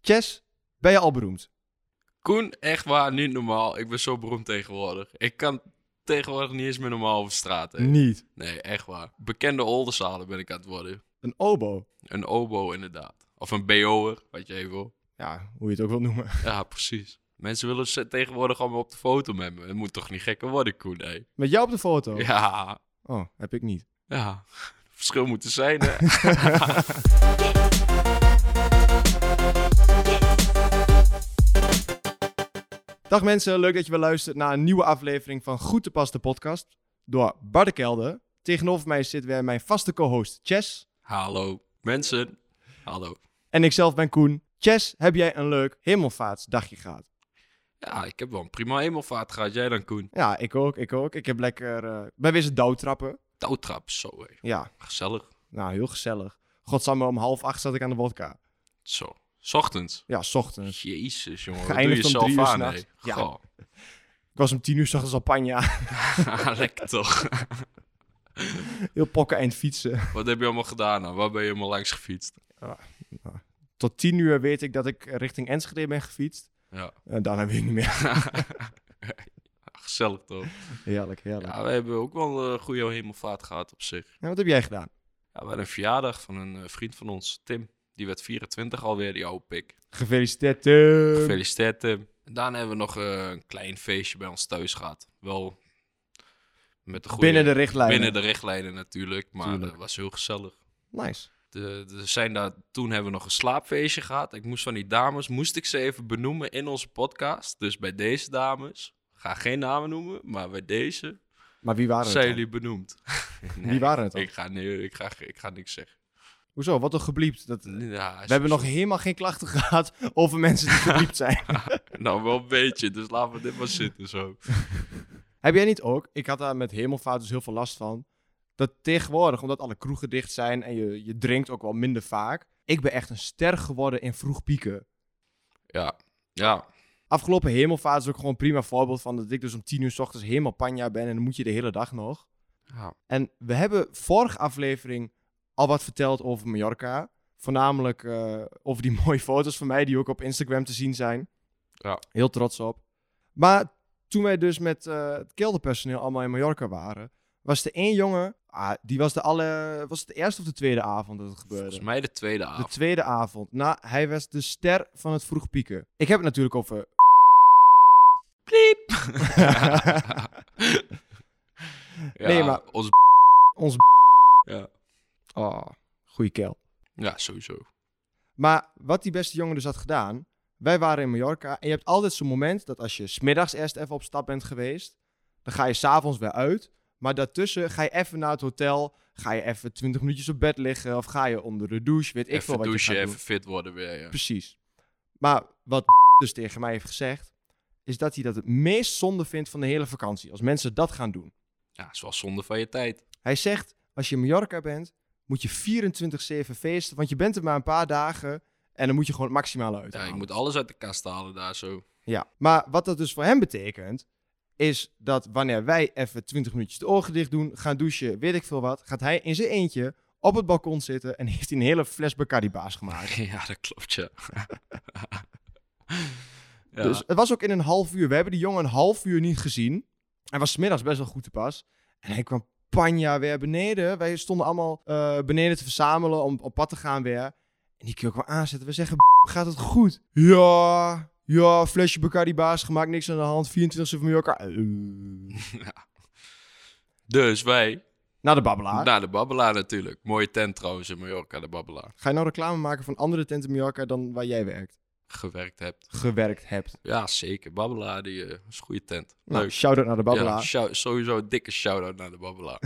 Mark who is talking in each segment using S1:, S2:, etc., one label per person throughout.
S1: Chess, ben je al beroemd?
S2: Koen, echt waar, niet normaal. Ik ben zo beroemd tegenwoordig. Ik kan tegenwoordig niet eens meer normaal over straat. hè.
S1: Niet.
S2: Nee, echt waar. Bekende oldenzalen ben ik aan het worden.
S1: Een obo.
S2: Een obo inderdaad. Of een BO'er, wat jij wil.
S1: Ja, hoe je het ook wilt noemen.
S2: Ja, precies. Mensen willen ze tegenwoordig allemaal op de foto met me. Het moet toch niet gekker worden, Koen, hè?
S1: Met jou op de foto?
S2: Ja,
S1: Oh, heb ik niet.
S2: ja. Verschil moet er zijn, hè?
S1: Dag mensen, leuk dat je weer luistert naar een nieuwe aflevering van Goed te Pas de podcast. Door Bart de Kelder. Tegenover mij zit weer mijn vaste co-host Chess.
S2: Hallo, mensen. Hallo.
S1: En ikzelf ben Koen. Chess, heb jij een leuk hemelvaartsdagje gehad?
S2: Ja, ik heb wel een prima hemelvaart gehad. Jij dan, Koen?
S1: Ja, ik ook, ik ook. Ik heb lekker... eh ben weer eens douwtrappen.
S2: Touwtrap, zo, hè.
S1: Ja,
S2: Gezellig.
S1: nou, heel gezellig. Godsamme, om half acht zat ik aan de wodka.
S2: Zo. 's Ochtends.
S1: Ja, 's ochtends.
S2: Jezus, jongen. Wat doe je
S1: Geëindigd om drie
S2: zelf
S1: uur
S2: aan, hè?
S1: s'nachts. Ja.
S2: Goh.
S1: Ik was om tien uur 's ochtends al panja.
S2: ah, Lekker toch.
S1: Heel pokken eind fietsen.
S2: Wat heb je allemaal gedaan? dan? Waar ben je helemaal langs gefietst?
S1: Tot tien uur weet ik dat ik richting Enschede ben gefietst.
S2: Ja.
S1: En daarna weet ik niet meer.
S2: Gezellig toch?
S1: Heerlijk, heerlijk.
S2: Ja, we hebben ook wel een goede hemelvaart gehad op zich.
S1: En Nou, wat heb jij gedaan?
S2: Ja, we hadden een verjaardag van een eh, vriend van ons, Tim. Die werd 24 alweer, die oude pik.
S1: Gefeliciteerd. Tim.
S2: Gefeliciteerd, Tim. En daarna hebben we nog eh, een klein feestje bij ons thuis gehad. Wel met de goede...
S1: Binnen de richtlijnen.
S2: binnen de richtlijnen natuurlijk, maar
S1: Tuurlijk.
S2: dat was heel gezellig.
S1: Nice.
S2: De, de- zijn daar, toen hebben we nog een slaapfeestje gehad. Ik moest van die dames, moest ik ze even benoemen in onze podcast. Dus bij deze dames, ga geen namen noemen, maar bij deze
S1: Maar wie waren het?
S2: zijn
S1: dan?
S2: jullie benoemd. Nee,
S1: Wie waren het dan?
S2: ik ga, nee, ik, ga, ik ga niks zeggen.
S1: Hoezo? Wat een gebliept. Dat... We
S2: Ja, is-
S1: hebben nog helemaal geen klachten gehad over mensen die gebliept zijn.
S2: Nou, wel een beetje, dus laten we dit maar zitten zo.
S1: heb jij niet ook? Ik had daar met hemelvaart dus heel veel last van. Dat tegenwoordig, omdat alle kroegen dicht zijn en je, je drinkt ook wel minder vaak. Ik ben echt een ster geworden in vroeg pieken.
S2: Ja, ja,
S1: Afgelopen hemelvaart is ook gewoon een prima voorbeeld van dat ik dus om tien uur s ochtends helemaal panja ben en dan moet je de hele dag nog.
S2: ja.
S1: En we hebben vorige aflevering al wat verteld over Mallorca. Voornamelijk eh, over die mooie foto's van mij die ook op Instagram te zien zijn.
S2: Ja.
S1: Heel trots op. Maar toen wij dus met eh, het kelderpersoneel allemaal in Mallorca waren, was de één jongen, ah, die was de, alle, was het de eerste of de tweede avond dat het gebeurde?
S2: Volgens mij de tweede
S1: De
S2: avond.
S1: tweede avond. Nou, hij was de ster van het vroeg pieken. Ik heb het natuurlijk over...
S2: Pliep! ja,
S1: Nee, maar-
S2: Ons,
S1: Ons...
S2: ja.
S1: Oh, goeie kel.
S2: ja, sowieso.
S1: Maar wat die beste jongen dus had gedaan. Wij waren in Mallorca en je hebt altijd zo'n moment dat als je smiddags eerst even op stap bent geweest. Dan ga je s'avonds weer uit. Maar daartussen ga je even naar het hotel. Ga je even 20 minuutjes op bed liggen. Of ga je onder de douche. Weet ik veel
S2: even
S1: wat
S2: douchen,
S1: je gaat
S2: even
S1: doen.
S2: fit worden weer, ja.
S1: Precies. Maar wat dus tegen mij heeft gezegd. Is dat hij dat het meest zonde vindt van de hele vakantie. Als mensen dat gaan doen.
S2: Ja, is wel zonde van je tijd.
S1: Hij zegt, als je in Mallorca bent, moet je 24-7 feesten. Want je bent er maar een paar dagen. En dan moet je gewoon het maximale uit.
S2: Ja, ik moet alles uit de kast halen daar zo.
S1: Ja, maar wat dat dus voor hem betekent, is dat wanneer wij even 20 minuutjes de ogen dicht doen, gaan douchen, weet ik veel wat, gaat hij in zijn eentje op het balkon zitten en heeft hij een hele fles Bacardi-baas gemaakt.
S2: Ja, dat klopt, ja. ja.
S1: Dus het was ook in een half uur. We hebben die jongen een half uur niet gezien. Hij was 's middags best wel goed te pas. En hij kwam panja weer beneden. Wij stonden allemaal eh, beneden te verzamelen om op pad te gaan weer. En die keer kwam aanzetten. We zeggen, "B- gaat het goed? Ja, ja, flesje Bacardi baas gemaakt, niks aan de hand. 24 van Mallorca. Eh,
S2: Dus wij
S1: naar de babbelaar.
S2: naar de Babbelaar natuurlijk. Mooie tent trouwens in Mallorca, de Babbelaar.
S1: Ga je nou reclame maken van andere tenten in Mallorca dan waar jij werkt?
S2: Gewerkt hebt.
S1: Gewerkt hebt.
S2: Ja, zeker. Babbelaar die, eh, is een goede tent.
S1: Nou,
S2: Leuk.
S1: shout-out naar de babbelaar.
S2: Ja, shou- sowieso een dikke shout-out naar de Babbelaar.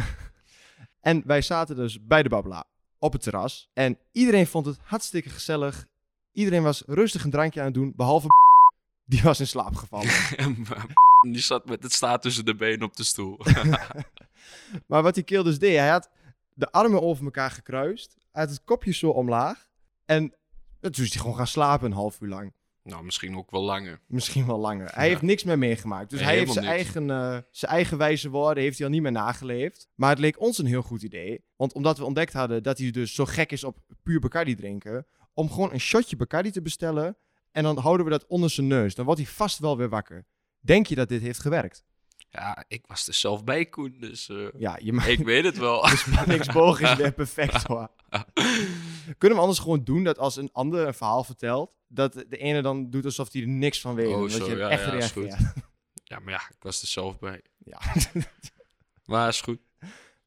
S1: En wij zaten dus bij de Babbelaar op het terras. En iedereen vond het hartstikke gezellig. Iedereen was rustig een drankje aan het doen, behalve die was in slaap gevallen.
S2: En die zat met het staat tussen de benen op de stoel.
S1: maar wat die keel dus deed, hij had de armen over elkaar gekruist. Hij had het kopje zo omlaag. En toen is hij gewoon gaan slapen een half uur lang.
S2: nou, misschien ook wel langer.
S1: Misschien wel langer. Hij
S2: Ja.
S1: heeft niks meer meegemaakt. Dus
S2: Nee,
S1: hij heeft zijn
S2: helemaal
S1: eigen, eh, zijn eigen wijze woorden heeft hij al niet meer nageleefd. Maar het leek ons een heel goed idee. Want omdat we ontdekt hadden dat hij dus zo gek is op puur Bacardi drinken... om gewoon een shotje Bacardi te bestellen... en dan houden we dat onder zijn neus. Dan wordt hij vast wel weer wakker. Denk je dat dit heeft gewerkt?
S2: Ja, ik was er zelf bij, Koen, dus eh,
S1: Ja, je maakt
S2: ik weet het wel.
S1: niks boog is weer perfect hoor. Kunnen we anders gewoon doen dat als een ander een verhaal vertelt, dat de ene dan doet alsof hij er niks van weet.
S2: Oh,
S1: omdat
S2: zo,
S1: je
S2: ja,
S1: echt
S2: ja, is
S1: reageert.
S2: Ja, maar ja, ik was er zelf bij.
S1: Ja.
S2: Maar is goed.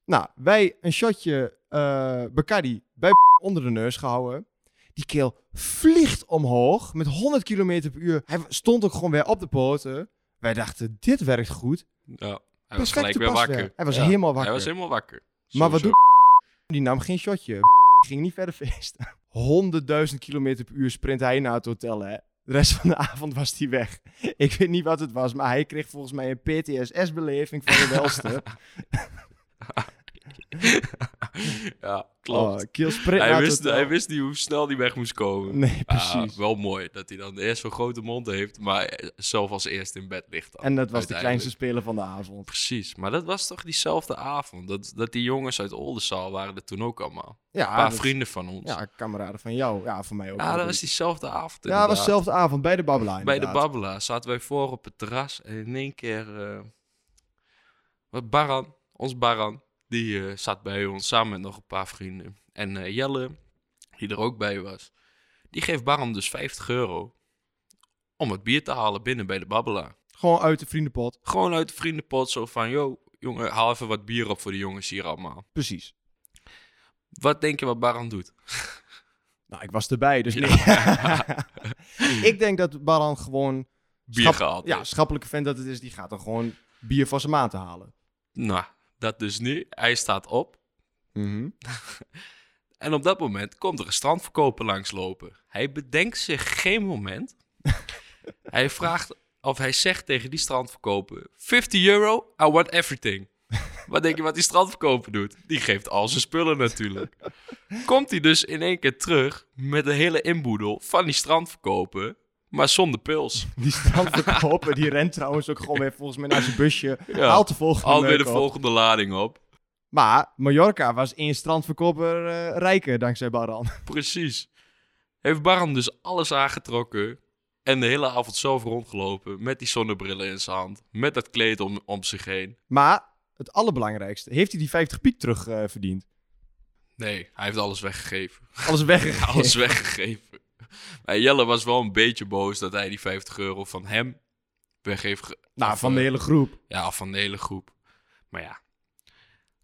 S1: Nou, wij een shotje eh Bacardi bij onder de neus gehouden. Die keel vliegt omhoog met 100 km per uur. Hij stond ook gewoon weer op de poten. Wij dachten, dit werkt goed.
S2: Ja, hij was
S1: Perfecte
S2: gelijk weer
S1: paswerk.
S2: wakker.
S1: Hij was
S2: Ja,
S1: helemaal wakker.
S2: Hij was helemaal wakker.
S1: Maar wat
S2: Sowieso.
S1: doet Die nam geen shotje. Ging niet verder feesten. 100.000 km per uur sprint hij naar het hotel, hè. De rest van de avond was hij weg. Ik weet niet wat het was, maar hij kreeg volgens mij een PTSS-beleving van de welste.
S2: ja, klopt.
S1: Oh, keel sprint
S2: hij,
S1: naar het
S2: wist,
S1: hotel.
S2: hij wist niet hoe snel hij weg moest komen.
S1: Nee,
S2: Ah,
S1: precies.
S2: wel mooi dat hij dan eerst zo'n grote mond heeft, maar eh, zelf als eerst in bed ligt. Dan,
S1: en dat was de
S2: uiteindelijk.
S1: kleinste speler van de avond.
S2: Precies, maar dat was toch diezelfde avond? Dat, dat die jongens uit Oldenzaal waren er toen ook allemaal.
S1: Ja,
S2: Een paar
S1: Ah, dat-
S2: vrienden van ons. Ja,
S1: Ja, kameraden van jou. Ja, voor mij ook.
S2: dat was diezelfde avond.
S1: ja, het was
S2: inderdaad.
S1: dezelfde avond bij de Babbelaar.
S2: Bij de
S1: inderdaad.
S2: Babbela zaten wij voor op het terras en in één keer... eh, wat Baran, ons Baran, die eh, zat bij ons samen met nog een paar vrienden. En eh, Jelle, die er ook bij was, die geeft Baran dus 50 euro om het bier te halen binnen bij de Babbela.
S1: Gewoon uit de vriendenpot.
S2: Gewoon uit de vriendenpot zo van, yo, jongen, haal even wat bier op voor de jongens hier allemaal.
S1: Precies.
S2: Wat denk je wat Baran doet?
S1: Nou, ik was erbij, dus
S2: Ja.
S1: nee. ik denk dat Baran gewoon...
S2: Bier
S1: schap-
S2: gehaald
S1: Ja,
S2: is.
S1: schappelijke vent dat het is. Die gaat dan gewoon bier van zijn maat te halen.
S2: Nou, dat dus nu. Hij staat op. Mhm. En op dat moment komt er een strandverkoper langslopen. Hij bedenkt zich geen moment. hij vraagt of hij zegt tegen die strandverkoper: 50 euro, I want everything. Wat denk je wat die strandverkoper doet? Die geeft al zijn spullen natuurlijk. Komt hij dus in één keer terug met een hele inboedel van die strandverkoper, maar zonder puls.
S1: Die strandverkoper, die rent trouwens ook gewoon weer volgens mij naar zijn busje.
S2: Ja,
S1: Haalt de volgende
S2: Alweer de
S1: meuk op.
S2: volgende lading op.
S1: Maar Mallorca was één strandverkoper eh, rijker dankzij Baran.
S2: Precies. Heeft Baran dus alles aangetrokken en de hele avond zelf rondgelopen met die zonnebrillen in zijn hand, met dat kleed om, om zich heen.
S1: Maar het allerbelangrijkste, heeft hij die 50 piek terugverdiend? verdiend?
S2: Nee, hij heeft alles weggegeven.
S1: Alles weggegaan.
S2: Alles weggegeven. Maar Jelle was wel een beetje boos dat hij die 50 euro van hem weg heeft ge-
S1: Nou,
S2: of,
S1: van de
S2: eh,
S1: hele groep.
S2: Ja, of van de hele groep. Maar ja,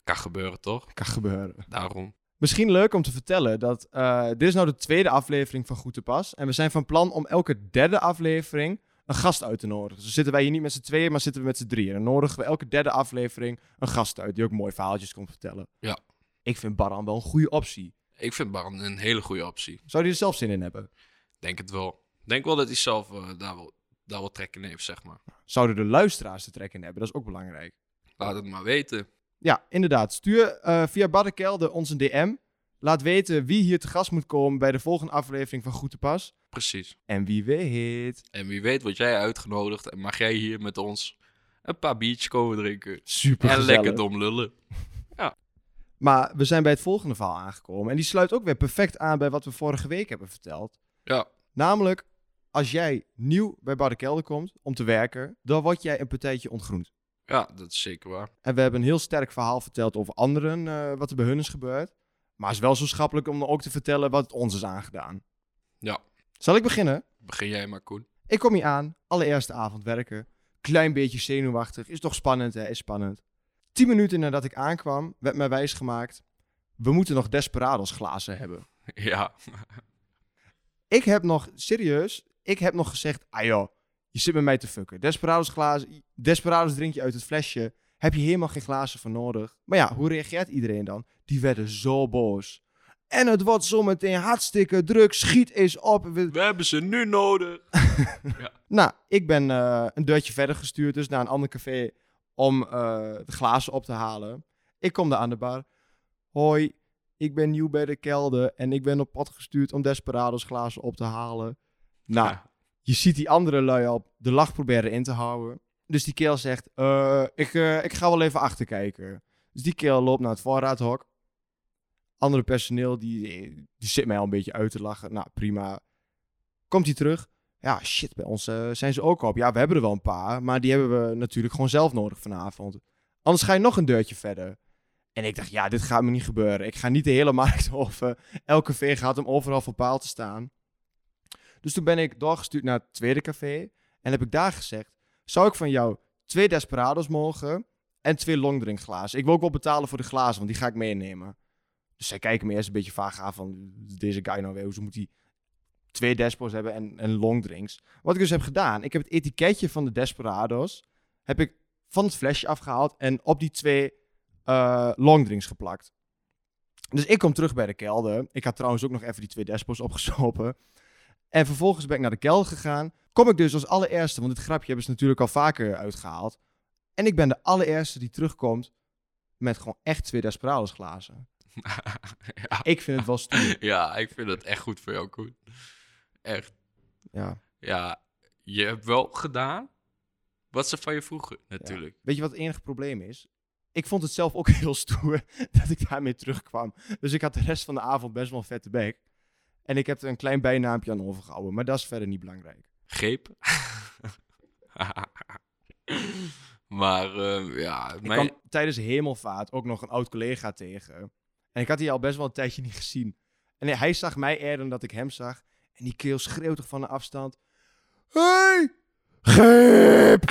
S2: kan gebeuren toch?
S1: Kan gebeuren.
S2: Daarom.
S1: Misschien leuk om te vertellen dat eh, dit is nou de tweede aflevering van Goed te Pas. En we zijn van plan om elke derde aflevering een gast uit te nodigen. Dus zitten wij hier niet met z'n tweeën, maar zitten we met z'n drieën. En dan nodigen we elke derde aflevering een gast uit die ook mooie verhaaltjes komt vertellen.
S2: Ja.
S1: Ik vind Baran wel een goede optie.
S2: Ik vind Baran een hele goede optie.
S1: Zou hij er zelf zin in hebben?
S2: Denk het wel. Denk wel dat hij zelf eh, daar, wel, daar wel trek in heeft, zeg maar.
S1: Zouden de luisteraars er trek in hebben? Dat is ook belangrijk.
S2: Laat het maar weten.
S1: Ja, inderdaad. Stuur eh, via Barrekelde ons een DM. Laat weten wie hier te gast moet komen bij de volgende aflevering van Goed te Pas.
S2: Precies.
S1: En wie weet...
S2: En wie weet word jij uitgenodigd en mag jij hier met ons een paar biertjes komen drinken.
S1: Super
S2: En lekker dom lullen.
S1: Maar we zijn bij het volgende verhaal aangekomen. En die sluit ook weer perfect aan bij wat we vorige week hebben verteld.
S2: Ja,
S1: Namelijk, als jij nieuw bij Barrekelde komt om te werken, dan word jij een partijtje ontgroend.
S2: ja dat is zeker waar.
S1: En we hebben een heel sterk verhaal verteld over anderen, eh, wat er bij hun is gebeurd. Maar het is wel zo schappelijk om dan ook te vertellen wat het ons is aangedaan.
S2: Ja.
S1: Zal ik beginnen?
S2: Begin jij maar, Koen.
S1: Ik kom hier aan, allereerste avond werken. Klein beetje zenuwachtig, is toch spannend hè, is spannend. Tien minuten nadat ik aankwam, werd mij wijsgemaakt... we moeten nog Desperados glazen hebben.
S2: Ja,
S1: Ik heb nog, serieus, ik heb nog gezegd, ah joh, je zit met mij te fucken. Desperados, glazen, Desperados drink je uit het flesje, heb je helemaal geen glazen voor nodig. Maar ja, hoe reageert iedereen dan? Die werden zo boos. En het wordt zometeen hartstikke druk, schiet eens op. We-
S2: we hebben ze nu nodig.
S1: Nou, ik ben eh, een deurtje verder gestuurd, dus naar een ander café om eh, de glazen op te halen. Ik kom daar aan de bar. Hoi, ik ben nieuw bij de kelder en ik ben op pad gestuurd om Desperados glazen op te halen. Nou,
S2: Ja.
S1: je ziet die andere lui al de lach proberen in te houden. Dus die keel zegt, eh, ik, eh, ik ga wel even achterkijken. Dus die keel loopt naar het voorraadhok. Andere personeel, die, die zit mij al een beetje uit te lachen. Nou, prima. Komt hij terug. Hé, Ja, shit, bij ons eh, zijn ze ook op. Ja, we hebben er wel een paar, maar die hebben we natuurlijk gewoon zelf nodig vanavond. Anders ga je nog een deurtje verder. En ik dacht, ja, dit gaat me niet gebeuren. Ik ga niet de hele markt over. Elke café gaat hem overal voor paal te staan. Dus toen ben ik doorgestuurd naar het tweede café. En heb ik daar gezegd, zou ik van jou twee Desperados mogen en twee longdrinkglazen. Ik wil ook wel betalen voor de glazen, want die ga ik meenemen. Dus zij kijken me eerst een beetje vaag aan van deze guy nou weer. Hoezo moet hij twee Despo's hebben en, en longdrinks? Wat ik dus heb gedaan, ik heb het etiketje van de Desperados heb ik van het flesje afgehaald en op die twee eh, longdrinks geplakt. Dus ik kom terug bij de kelder. Ik had trouwens ook nog even die twee Despo's opgesopen. En vervolgens ben ik naar de kelder gegaan. Kom ik dus als allereerste, want dit grapje hebben ze natuurlijk al vaker uitgehaald. En ik ben de allereerste die terugkomt met gewoon echt twee Desperados glazen.
S2: Ja.
S1: Ik vind het wel stoer.
S2: Ja, ik vind het echt goed voor jou, Koen. Echt.
S1: Ja.
S2: Ja, je hebt wel gedaan wat ze van je vroegen, natuurlijk.
S1: Weet je wat het enige probleem is? Ik vond het zelf ook heel stoer dat ik daarmee terugkwam. Dus ik had de rest van de avond best wel een vette bek. En ik heb er een klein bijnaampje aan overgehouden. Maar dat is verder niet belangrijk.
S2: Greep. maar eh, ja,
S1: Ik
S2: mijn...
S1: kwam tijdens hemelvaart ook nog een oud collega tegen. En ik had die al best wel een tijdje niet gezien. En hij zag mij eerder dan dat ik hem zag. En die keel schreeuwt toch van een afstand. Hey! Gip!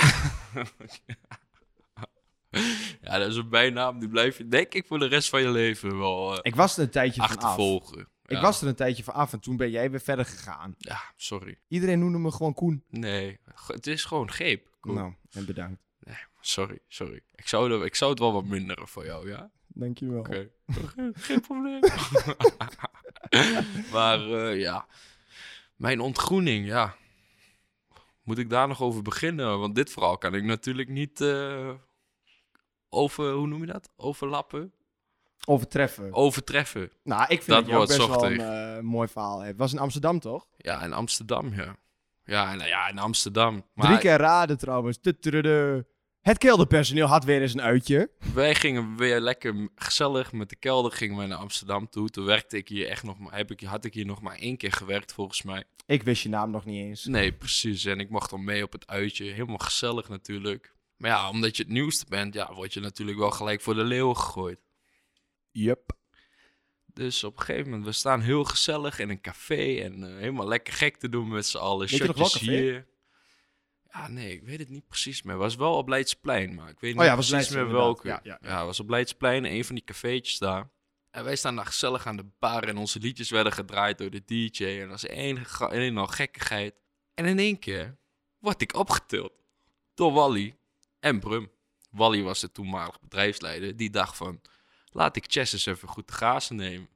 S2: ja, dat is een bijnaam. Die blijf je, denk ik, voor de rest van je leven wel eh,
S1: Ik was er een tijdje van af.
S2: achtervolgen.
S1: Ik
S2: Ja.
S1: was er een tijdje van af en toen ben jij weer verder gegaan.
S2: Ja, sorry.
S1: Iedereen noemde me gewoon Koen.
S2: Nee, Go- het is gewoon greep. Koen.
S1: Nou, en bedankt.
S2: Sorry, sorry. Ik zou, er- ik zou het wel wat minderen voor jou, ja?
S1: Dankjewel.
S2: Oké. Geen- Geen probleem. maar eh, ja, mijn ontgroening, ja. Moet ik daar nog over beginnen? Want dit verhaal kan ik natuurlijk niet eh, over, hoe noem je dat? Overlappen?
S1: Overtreffen.
S2: Overtreffen.
S1: Nou, ik vind dat,
S2: Oh, Dat
S1: je ook
S2: wordt
S1: best wel een
S2: zochtig.
S1: eh, mooi verhaal hebt. Was in Amsterdam, toch?
S2: Ja, in Amsterdam, ja. Ja, en, ja in Amsterdam. Maar
S1: Drie keer raden trouwens. Tudududu. Het kelderpersoneel had weer eens een uitje.
S2: wij gingen weer lekker m- gezellig met de kelder gingen wij naar Amsterdam toe. Toen werkte ik hier echt nog maar, heb ik, had ik hier nog maar één keer gewerkt volgens mij.
S1: Ik wist je naam nog niet eens.
S2: Nee, precies. En ik mocht dan mee op het uitje. Helemaal gezellig natuurlijk. Maar ja, omdat je het nieuwste bent, ja, word je natuurlijk wel gelijk voor de leeuwen gegooid.
S1: Yup.
S2: Dus op een gegeven moment, we staan heel gezellig in een café en eh, helemaal lekker gek te doen met z'n allen.
S1: Weet je nog welk
S2: Shotjes
S1: café?
S2: hier. Ja, nee, ik weet het niet precies meer. was wel op Leidsplein, maar ik weet niet
S1: Oh ja, was
S2: precies
S1: Leidse,
S2: meer
S1: inderdaad.
S2: welke.
S1: Ja, ja, ja.
S2: was op Leidsplein, een van die cafeetjes daar. En wij staan daar gezellig aan de bar en onze liedjes werden gedraaid door de DJ. En dat was één ge- één en al gekkigheid. En in één keer word ik opgetild door Wally en Brum. Wally was de toenmalig bedrijfsleider. Die dacht van, laat ik Chess eens even goed de gazen nemen.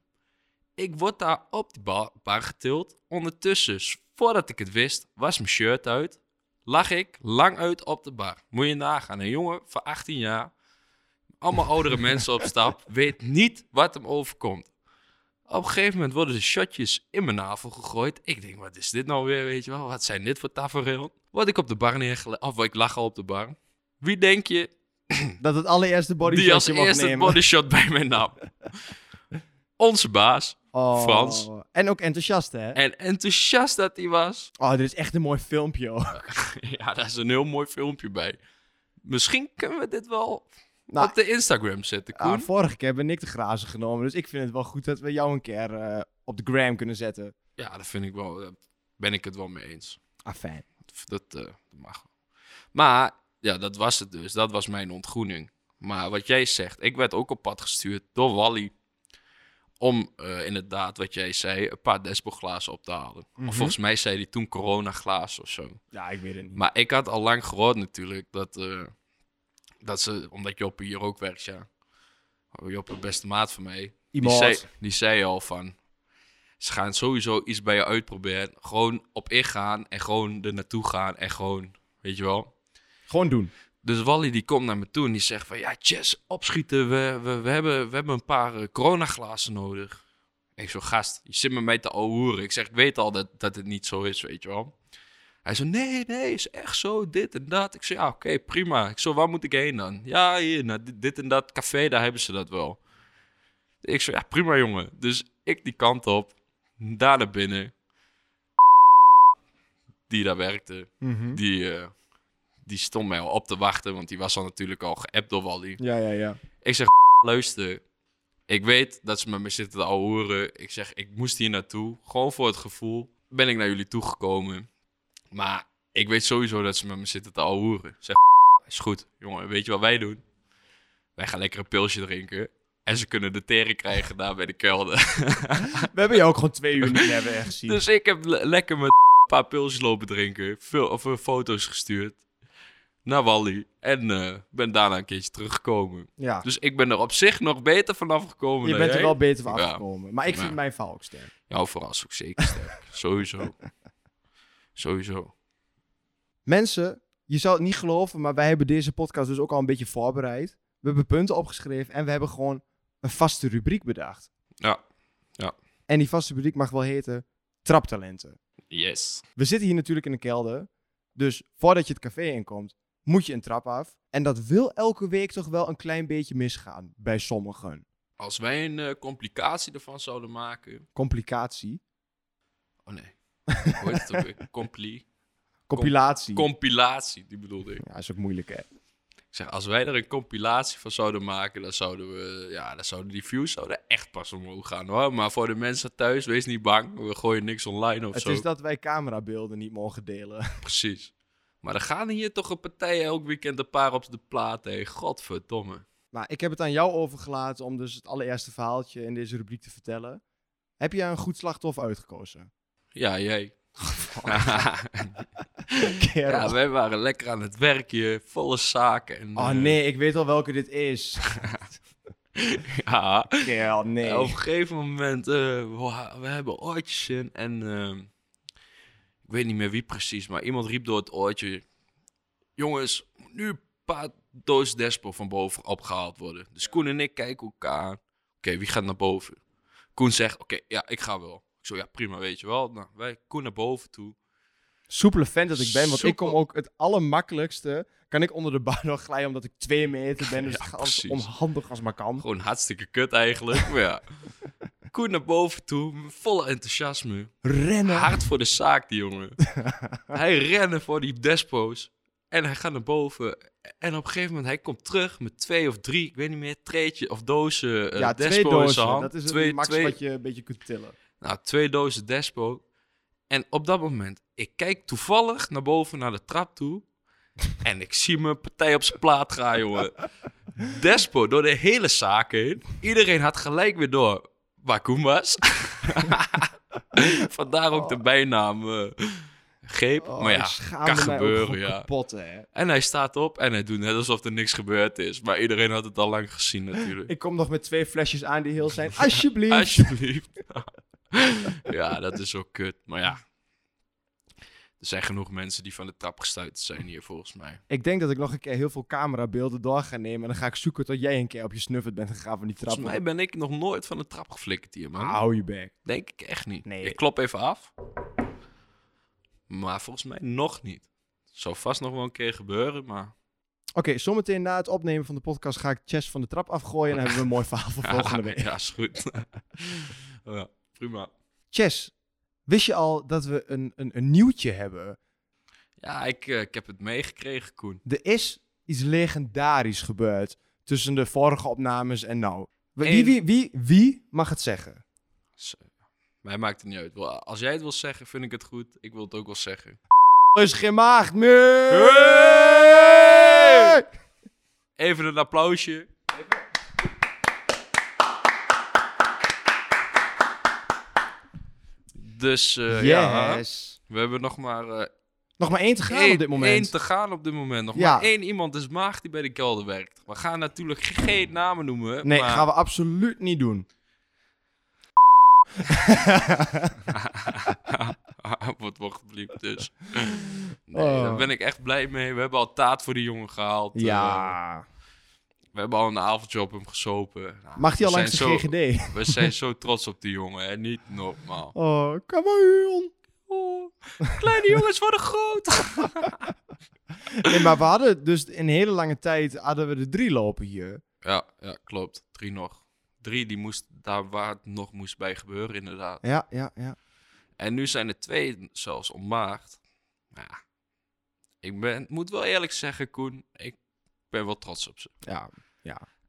S2: Ik word daar op die ba- bar getild. Ondertussen, s- voordat ik het wist, was mijn shirt uit. Lag ik lang uit op de bar. Moet je nagaan, een jongen van 18 jaar. Allemaal oudere mensen op stap. Weet niet wat hem overkomt. Op een gegeven moment worden de shotjes in mijn navel gegooid. Ik denk, wat is dit nou weer, weet je wel? Wat zijn dit voor tafereel? Word ik op de bar neergelegd. Of ik lag al op de bar. Wie denk je
S1: Dat het allereerste body
S2: die als
S1: mag
S2: eerste het
S1: nemen.
S2: bodyshot bij mij nam? Onze baas.
S1: Oh.
S2: Frans.
S1: En ook enthousiast, hè?
S2: En enthousiast dat hij was.
S1: Oh, dit is echt een mooi filmpje, hoor.
S2: Ja, daar is een heel mooi filmpje bij. Misschien kunnen we dit wel
S1: Nou,
S2: op de Instagram zetten, Koen.
S1: Ah, vorige keer hebben Nick de grazen genomen. Dus ik vind het wel goed dat we jou een keer eh, op de gram kunnen zetten.
S2: Ja, dat vind ik wel. Daar ben ik het wel mee eens.
S1: Ah, fijn.
S2: Dat, eh, dat mag. wel. Maar ja, dat was het dus. Dat was mijn ontgroening. Maar wat jij zegt, ik werd ook op pad gestuurd door Wally. Om eh, inderdaad, wat jij zei, een paar Despo-glazen op te halen.
S1: Mhm.
S2: Of volgens mij zei hij toen corona-glazen of zo.
S1: Ja, ik weet het niet.
S2: Maar ik had al lang gehoord natuurlijk dat, eh, dat ze, omdat Joppe hier ook werkt, ja. Joppe, beste maat van mij, die
S1: Iemand.
S2: zei, die zei al van, ze gaan sowieso iets bij je uitproberen. Gewoon op ingaan en gewoon er naartoe gaan en gewoon, weet je wel.
S1: Gewoon doen.
S2: Dus Wally die komt naar me toe en die zegt van... Ja, Chess, opschieten. We, we, we, hebben, we hebben een paar eh, coronaglazen nodig. Ik zo, gast, je zit met mij te ouwehoeren. Ik zeg, ik weet al dat, dat het niet zo is, weet je wel. Hij zo, nee, nee, is echt zo, dit en dat. Ik zo, ja, oké, prima. Ik zo, waar moet ik heen dan? Ja, hier, naar dit, dit en dat café, daar hebben ze dat wel. Ik zo, ja, prima, jongen. Dus ik die kant op, daar naar binnen. die daar werkte,
S1: Mhm.
S2: die, eh, die stond mij al op te wachten, want die was al natuurlijk al geappt door Wally.
S1: Ja, ja, ja.
S2: Ik zeg, luister, ik weet dat ze met me zitten te ouwehoeren. Ik zeg, ik moest hier naartoe, gewoon voor het gevoel. Ben ik naar jullie toegekomen, maar ik weet sowieso dat ze met me zitten te ouwehoeren. Ik Zeg, is goed, jongen, weet je wat wij doen? Wij gaan lekker een pilsje drinken. En ze kunnen de teren krijgen daar bij de kelder.
S1: We hebben je ook gewoon twee uur niet hebben echt gezien.
S2: Dus ik heb le- lekker met een paar pilsjes lopen drinken. Veel, of eh, foto's gestuurd naar Wally. En eh, ben daarna een keertje teruggekomen.
S1: ja.
S2: Dus ik ben er op zich nog beter vanaf gekomen.
S1: je
S2: dan
S1: bent er
S2: jij.
S1: wel beter van
S2: Ja.
S1: afgekomen. Maar ik vind
S2: Ja.
S1: mijn verhaal ook sterk.
S2: Jouw verhaal is ook zeker sterk. Sowieso. Sowieso.
S1: Mensen, je zou het niet geloven, maar wij hebben deze podcast dus ook al een beetje voorbereid. We hebben punten opgeschreven en we hebben gewoon een vaste rubriek bedacht.
S2: Ja. Ja.
S1: En die vaste rubriek mag wel heten Traptalenten.
S2: Yes.
S1: We zitten hier natuurlijk in een kelder. Dus voordat je het café inkomt, moet je een trap af. En dat wil elke week toch wel een klein beetje misgaan bij sommigen.
S2: Als wij een eh, complicatie ervan zouden maken.
S1: Complicatie.
S2: Oh nee. Hoe heet het ook weer? Compli-
S1: Compilatie.
S2: compilatie, die bedoelde ik.
S1: ja, is ook moeilijk, hè?
S2: Ik zeg, als wij er een compilatie van zouden maken, dan zouden we, ja, dan zouden die views zouden echt pas omhoog gaan hoor. Maar voor de mensen thuis, wees niet bang. We gooien niks online of
S1: Het
S2: zo.
S1: is dat wij camerabeelden niet mogen delen.
S2: Precies. Maar er gaan hier toch een partij elk weekend een paar op de plaat, hé. Godverdomme.
S1: Maar Nou, ik heb het aan jou overgelaten om dus het allereerste verhaaltje in deze rubriek te vertellen. Heb jij een goed slachtoffer uitgekozen?
S2: Ja, jij.
S1: Kerel.
S2: ja, wij waren lekker aan het werkje, volle zaken. En,
S1: Oh
S2: eh,
S1: nee, ik weet al welke dit is.
S2: ja.
S1: Kerel,
S2: En op
S1: nee.
S2: een gegeven moment, eh, we, ha- we hebben oortjes in en ehm, ik weet niet meer wie precies, maar iemand riep door het oortje: Jongens, nu een paar doos Despo van boven opgehaald worden. Dus Koen en ik kijken elkaar aan. Oké, wie gaat naar boven? Koen zegt: Oké, ja, ik ga wel. Ik zo, ja, prima, weet je wel. Nou, wij Koen naar boven toe.
S1: Soepele vent dat ik ben, want ik
S2: Soepel.
S1: kom ook het allermakkelijkste. Kan ik onder de bar nog glijden omdat ik twee meter ben. Dus
S2: Ja,
S1: het gaat altijd
S2: precies.
S1: onhandig als maar kan.
S2: Gewoon hartstikke kut eigenlijk, maar ja. Koen naar boven toe, volle enthousiasme.
S1: Rennen.
S2: Hard voor de zaak, die jongen. hij rende voor die despo's. En hij gaat naar boven. En op een gegeven moment, hij komt terug met twee of drie, ik weet niet meer, treetje of dozen eh
S1: ja,
S2: despo
S1: twee
S2: in zijn
S1: dozen.
S2: hand.
S1: Dat is het
S2: twee,
S1: max
S2: twee,
S1: wat je een beetje kunt tillen.
S2: Nou, twee dozen despo. En op dat moment, ik kijk toevallig naar boven naar de trap toe. en ik zie mijn partij op zijn plaat gaan, jongen. Despo door de hele zaak heen. Iedereen had gelijk weer door waar Koen was. Vandaar ook de bijnaam eh, Geep.
S1: Oh,
S2: maar ja,
S1: ik schaamde
S2: kan
S1: mij ook
S2: gebeuren,
S1: gewoon
S2: ja.
S1: kapot, hè.
S2: en hij staat op en hij doet net alsof er niks gebeurd is. Maar iedereen had het al lang gezien natuurlijk.
S1: Ik kom nog met twee flesjes aan die heel zijn. Alsjeblieft.
S2: Alsjeblieft. ja, dat is ook kut. Maar ja. Er zijn genoeg mensen die van de trap gestuurd zijn hier, volgens mij.
S1: Ik denk dat ik nog een keer heel veel camerabeelden door ga nemen. En dan ga ik zoeken tot jij een keer op je snuffert bent gegaan van die trap.
S2: Volgens mij ben ik nog nooit van de trap geflikkerd hier, man.
S1: Hou je bek.
S2: Denk ik echt niet.
S1: Nee.
S2: Ik klop even af. Maar volgens mij nog niet. Zou vast nog wel een keer gebeuren, maar...
S1: Oké, zometeen na het opnemen van de podcast ga ik Chess van de trap afgooien. En dan hebben we een mooi verhaal voor volgende week.
S2: Ja, is goed. ja, prima.
S1: Chess, wist je al dat we een, een, een nieuwtje hebben?
S2: Ja, ik, eh, ik heb het meegekregen, Koen.
S1: Er is iets legendarisch gebeurd tussen de vorige opnames en nou. Wie,
S2: Eén.
S1: wie, wie, wie mag het zeggen?
S2: Dus, eh, mij maakt het niet uit. Wel, Als jij het wil zeggen, vind ik het goed. Ik wil het ook wel zeggen.
S1: Is geen maagd meer!
S2: Hey! Even een applausje. Dus eh, ja,
S1: Yes.
S2: we hebben nog maar eh,
S1: Nog maar één te gaan
S2: één,
S1: op dit
S2: één
S1: moment.
S2: te gaan op dit moment. Nog
S1: Ja.
S2: maar één iemand is maag die bij de kelder werkt. We gaan natuurlijk geen namen noemen.
S1: Nee,
S2: maar
S1: gaan we absoluut niet doen.
S2: Ah, wordt wel gebliept dus. Nee,
S1: Oh.
S2: daar ben ik echt blij mee. We hebben al taart voor die jongen gehaald. Eh,
S1: Ja.
S2: we hebben al een avondje op hem gesopen. Nou,
S1: Mag die al
S2: we
S1: langs de
S2: zijn zo-
S1: GGD?
S2: We zijn zo trots op die jongen, hè? Niet normaal.
S1: Oh, come on.
S2: Oh, kleine jongens worden groot.
S1: Nee, maar we hadden dus een hele lange tijd hadden we er drie lopen hier.
S2: Ja, ja, klopt. Drie nog. Drie, die moest daar waar het nog moest bij gebeuren, inderdaad.
S1: Ja, ja, ja.
S2: En nu zijn er twee zelfs onmaagd. Ja. Ik ben, moet wel eerlijk zeggen, Koen, ik ben wel trots op ze.
S1: Ja,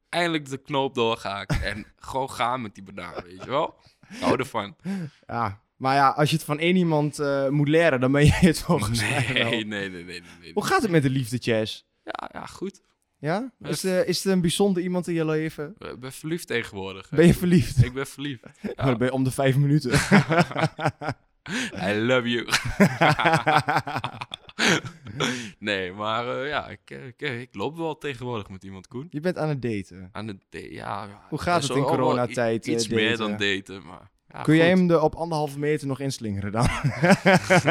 S2: Eindelijk de knoop doorgehaakt en gewoon gaan met die banaan, weet je wel? Ik Hou ervan.
S1: ja. Maar ja, als je het van één iemand eh, moet leren, dan ben je het volgens
S2: Nee,
S1: mij wel.
S2: nee, nee, nee, nee, nee, nee.
S1: Hoe gaat het met de liefde, Chess?
S2: Ja, ja, goed.
S1: Ja?
S2: Eh.
S1: Is, er is er een bijzonder iemand in je leven?
S2: Ik ben verliefd tegenwoordig. hè.
S1: Ben je verliefd?
S2: Ik ben verliefd.
S1: Maar dan ben je om de vijf minuten.
S2: I love you. nee, maar eh, ja, ik, ik, ik loop wel tegenwoordig met iemand, Koen.
S1: je bent aan het daten.
S2: Aan het da- ja, ja,
S1: Hoe gaat
S2: is
S1: het in
S2: ook wel i-
S1: coronatijd, eh,
S2: Iets meer
S1: daten?
S2: dan daten, maar... ja,
S1: Kun jij
S2: goed.
S1: hem er op anderhalve meter nog inslingeren dan?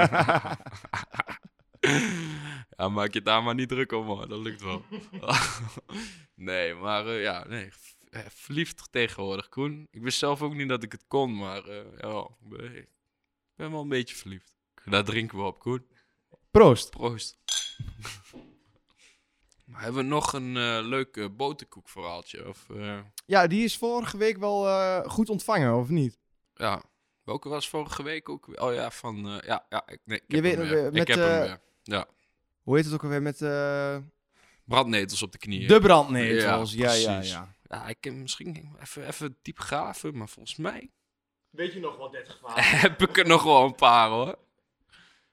S2: ja, maak je daar maar niet druk om, hoor. Dat lukt wel. nee, maar eh, ja, nee. v- eh, Verliefd tegenwoordig, Koen. Ik wist zelf ook niet dat ik het kon, maar eh, ja, ik ben- ik ben wel een beetje verliefd. Daar drinken we op, Koen.
S1: Proost.
S2: Proost. Maar hebben we nog een eh, leuk eh, boterkoekverhaaltje? Of, eh,
S1: Ja, die is vorige week wel eh, goed ontvangen, of niet?
S2: ja. Welke was vorige week ook? weer? Oh ja, van... eh, ja, ja, ik, nee, ik
S1: Je
S2: heb
S1: weet-
S2: hem weer.
S1: met,
S2: ik heb hem
S1: eh,
S2: weer. Ja.
S1: Hoe heet het ook alweer met eh,
S2: Brandnetels op de knieën.
S1: de brandnetels? Ja,
S2: Ja,
S1: ja, ja,
S2: precies. Ja, ik heb misschien even, even diep graven, maar volgens mij
S1: Weet je nog wat dit gevaar
S2: heb ik er nog wel een paar hoor.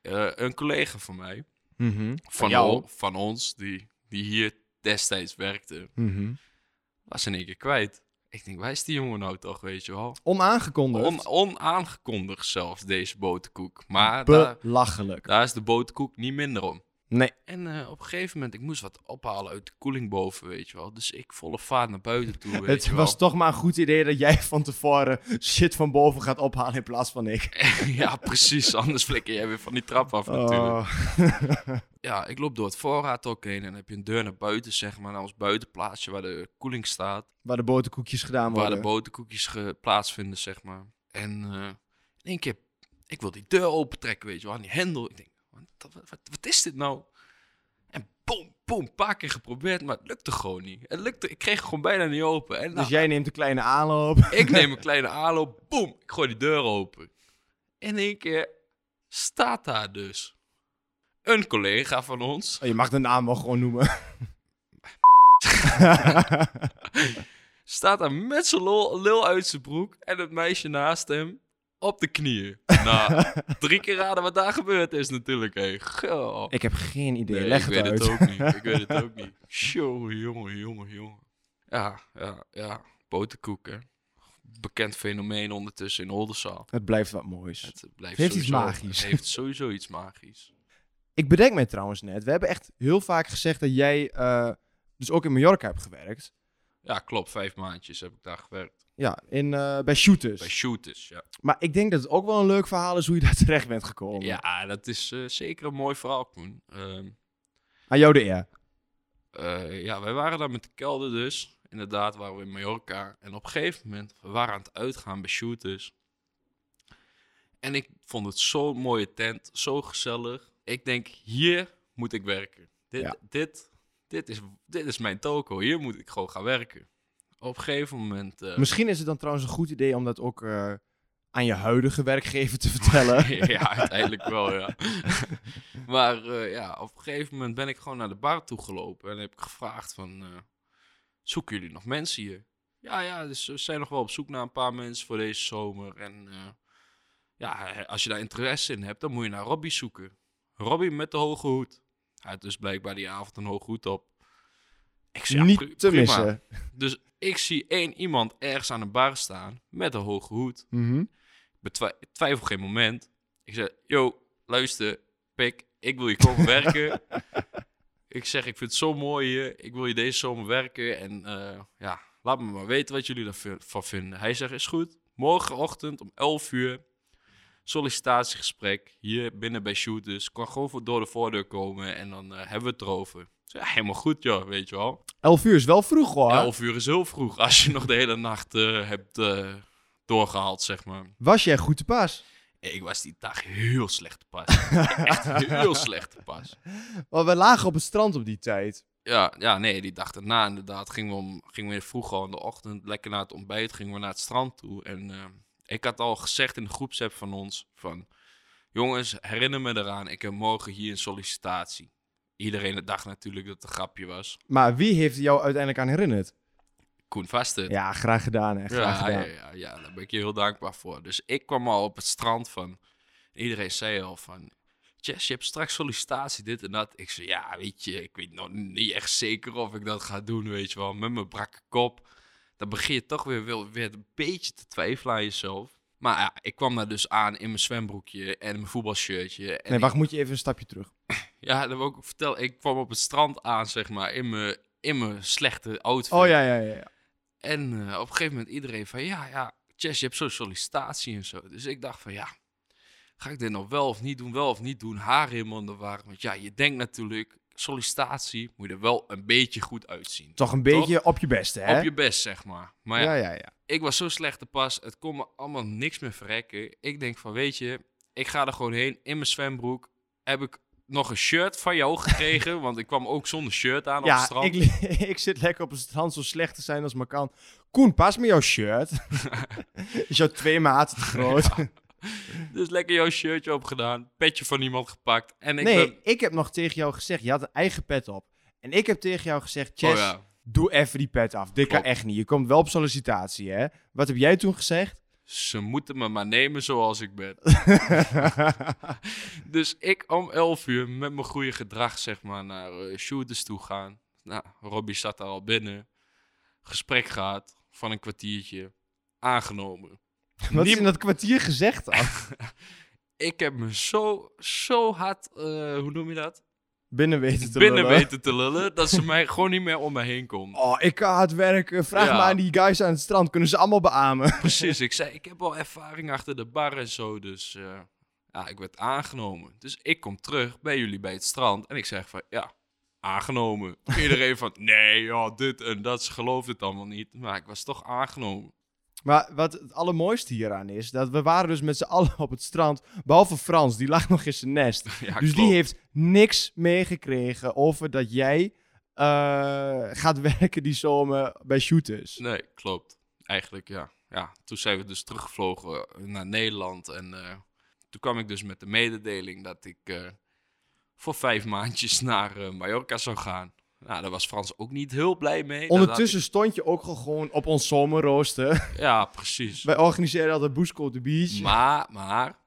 S2: Eh, een collega van mij,
S1: Mhm,
S2: van,
S1: jou?
S2: o- van ons, die, die hier destijds werkte,
S1: mhm.
S2: was in één keer kwijt. Ik denk, waar is die jongen nou toch, weet je wel?
S1: Onaangekondigd.
S2: On, onaangekondigd zelfs, deze boterkoek. Maar daar,
S1: Belachelijk.
S2: daar is de boterkoek niet minder om.
S1: Nee.
S2: En eh, op een gegeven moment, ik moest wat ophalen uit de koeling boven, weet je wel. Dus ik volle vaart naar buiten toe, weet
S1: Het
S2: je wel.
S1: was toch maar een goed idee dat jij van tevoren shit van boven gaat ophalen in plaats van ik.
S2: ja, precies. Anders flikker jij weer van die trap af natuurlijk.
S1: Oh.
S2: Ja, ik loop door het voorraad ook heen en dan heb je een deur naar buiten, zeg maar, naar ons buitenplaatsje waar de koeling staat.
S1: Waar de boterkoekjes gedaan
S2: waar
S1: worden.
S2: de boterkoekjes ge- plaatsvinden, zeg maar. En eh, in één keer, ik wil die deur opentrekken, weet je wel, aan die hendel. Ik denk, wat, wat, wat- wat is dit nou? En boom, boom, een paar keer geprobeerd, maar het lukte gewoon niet. Het lukte, ik kreeg het gewoon bijna niet open. En nou,
S1: Dus jij neemt een kleine aanloop.
S2: Ik neem een kleine aanloop, boem, ik gooi die deur open. In één keer staat daar dus een collega van ons.
S1: Oh, je mag de naam wel gewoon noemen.
S2: Staat daar met zijn lol, lul uit zijn broek en het meisje naast hem op de knieën. Nou, drie keer raden wat daar gebeurd is natuurlijk. Hé. Goh.
S1: ik heb geen idee.
S2: Nee,
S1: Leg het
S2: ik weet
S1: uit.
S2: het ook niet. Ik weet het ook niet. Tjonge, jongen, jongen, jongen. Ja, ja, ja. Boterkoek, hè. Bekend fenomeen ondertussen in Oldenzaal.
S1: Het blijft wat moois.
S2: Het blijft
S1: heeft iets
S2: sowieso,
S1: magisch.
S2: Het heeft sowieso iets magisch.
S1: Ik bedenk mij trouwens net, we hebben echt heel vaak gezegd dat jij eh, dus ook in Mallorca hebt gewerkt.
S2: Ja, klopt. Vijf maandjes heb ik daar gewerkt.
S1: Ja, in, eh, bij shooters.
S2: Bij shooters, ja.
S1: maar ik denk dat het ook wel een leuk verhaal is hoe je daar terecht bent gekomen.
S2: Ja, dat is eh, zeker een mooi verhaal, Koen. Ehm,
S1: Aan jou de eer.
S2: eh, ja, wij waren daar met de kelder dus. Inderdaad, waren we in Mallorca. En op een gegeven moment, we waren aan het uitgaan bij shooters. En ik vond het zo'n mooie tent, zo gezellig. Ik denk, hier moet ik werken. Dit,
S1: Ja.
S2: dit, dit, is, dit is mijn toko. Hier moet ik gewoon gaan werken. Op een gegeven moment... eh,
S1: Misschien is het dan trouwens een goed idee om dat ook eh, aan je huidige werkgever te vertellen.
S2: ja, uiteindelijk wel, ja. maar eh, ja, op een gegeven moment ben ik gewoon naar de bar toe gelopen en heb ik gevraagd van, eh, zoeken jullie nog mensen hier? Ja, ja, dus we zijn nog wel op zoek naar een paar mensen voor deze zomer. En eh, ja, als je daar interesse in hebt, dan moet je naar Robbie zoeken. Robbie met de hoge hoed. Hij had dus blijkbaar die avond een hoge hoed op. Ik zei, ja,
S1: niet
S2: pri-
S1: te
S2: prima.
S1: missen.
S2: Dus ik zie één iemand ergens aan de bar staan met een hoge hoed
S1: Mhm.
S2: betwi- ik twijfel geen moment. Ik zeg, yo, luister, pik, ik wil je komen werken. ik zeg, ik vind het zo mooi hier. Ik wil je deze zomer werken. En eh, ja, laat me maar weten wat jullie daarvan vinden. Hij zegt, is goed. Morgenochtend om 11 uur, sollicitatiegesprek. Hier binnen bij Shooters. Kan gewoon voor, door de voordeur komen en dan eh, hebben we het erover. Ik zeg, ja, helemaal goed joh, weet je wel.
S1: Elf uur is wel vroeg hoor.
S2: 11 uur is heel vroeg als je nog de hele nacht eh, hebt eh, doorgehaald, zeg maar.
S1: Was jij goed te pas?
S2: Ik was die dag heel slecht te pas. Echt heel slecht te pas.
S1: Want we lagen op het strand op die tijd.
S2: Ja, ja, nee, die dag daarna inderdaad gingen we, om, gingen we vroeg al in de ochtend, lekker na het ontbijt, gingen we naar het strand toe. En eh, ik had al gezegd in de groepsapp van ons, van, Jongens, herinner me eraan, ik heb morgen hier een sollicitatie. Iedereen dacht natuurlijk dat het een grapje was.
S1: Maar wie heeft jou uiteindelijk aan herinnerd?
S2: Koen Vasten.
S1: Ja, graag gedaan. Hè. Graag
S2: Ja, ja,
S1: gedaan.
S2: ja, ja, daar ben ik je heel dankbaar voor. Dus ik kwam al op het strand van... Iedereen zei al van... Jess, je hebt straks sollicitatie, dit en dat. Ik zei, ja, weet je, ik weet nog niet echt zeker of ik dat ga doen, weet je wel. Met mijn brakke kop. Dan begin je toch weer, wel- weer een beetje te twijfelen aan jezelf. Maar ja, ik kwam daar dus aan in mijn zwembroekje en mijn voetbalshirtje. En
S1: Nee, wacht, moet je even een stapje terug.
S2: ik- ja, dat wil ik ook vertellen. Ik kwam op het strand aan, zeg maar, in mijn, in mijn slechte outfit.
S1: Oh ja, ja, ja. ja.
S2: En eh, op een gegeven moment iedereen van, ja, ja, Chess, je hebt zo'n sollicitatie en zo. Dus ik dacht van, ja, ga ik dit nou wel of niet doen, wel of niet doen? Haar helemaal in de war. Want ja, je denkt natuurlijk, sollicitatie moet je er wel een beetje goed uitzien.
S1: Toch een beetje op je beste, hè?
S2: Op je best, zeg maar. Maar ja,
S1: Ja, ja, ja.
S2: ik was zo slecht te pas, het kon me allemaal niks meer verrekken. Ik denk van, weet je, ik ga er gewoon heen, in mijn zwembroek, heb ik nog een shirt van jou gekregen, want ik kwam ook zonder shirt aan op het
S1: Ja,
S2: strand.
S1: ik, li- ik zit lekker op het strand zo slecht te zijn als maar kan. Koen, pas me jouw shirt. Is jouw twee maten te groot?
S2: Dus lekker jouw shirtje opgedaan, petje van iemand gepakt. En ik
S1: nee,
S2: ben...
S1: ik heb nog tegen jou gezegd, je had een eigen pet op. En ik heb tegen jou gezegd, Chess,
S2: Oh ja,
S1: doe even die pet af. Dit kan
S2: Klopt.
S1: echt niet. Je komt wel op sollicitatie, hè? Wat heb jij toen gezegd?
S2: ze moeten me maar nemen zoals ik ben. dus ik om 11 uur met mijn goede gedrag zeg maar naar eh, shooters toe gaan. Nou, Robbie zat daar al binnen. Gesprek gehad van een kwartiertje. Aangenomen.
S1: Wat is
S2: Niem-
S1: in dat kwartier gezegd dan?
S2: Ik heb me zo, zo hard, eh, hoe noem je dat?
S1: Binnen weten te
S2: Binnen
S1: lullen.
S2: weten te lullen, dat ze mij gewoon niet meer om me heen komt.
S1: Oh, ik kan hard werken. Vraag
S2: Ja.
S1: maar aan die guys aan het strand. Kunnen ze allemaal beamen?
S2: Precies, ik zei, ik heb al ervaring achter de bar en zo, dus eh, ja, ik werd aangenomen. Dus ik kom terug bij jullie bij het strand en ik zeg van, ja, aangenomen. Iedereen van, nee, ja, dit en dat, ze geloofden het allemaal niet, maar ik was toch aangenomen.
S1: Maar wat het allermooiste hieraan is, dat we waren dus met z'n allen op het strand. Behalve Frans, die lag nog in zijn nest.
S2: Ja,
S1: dus
S2: klopt.
S1: die heeft niks meegekregen over dat jij eh, gaat werken die zomer bij shooters.
S2: Nee, klopt. Eigenlijk, ja. ja. Toen zijn we dus teruggevlogen naar Nederland en eh, toen kwam ik dus met de mededeling dat ik eh, voor vijf maandjes naar eh, Mallorca zou gaan. Nou, daar was Frans ook niet heel blij mee. Dat had
S1: Ondertussen stond je ook gewoon op ons zomerrooster.
S2: ik- Ja, precies.
S1: Wij organiseren altijd Boesco op de beach.
S2: Maar, maar,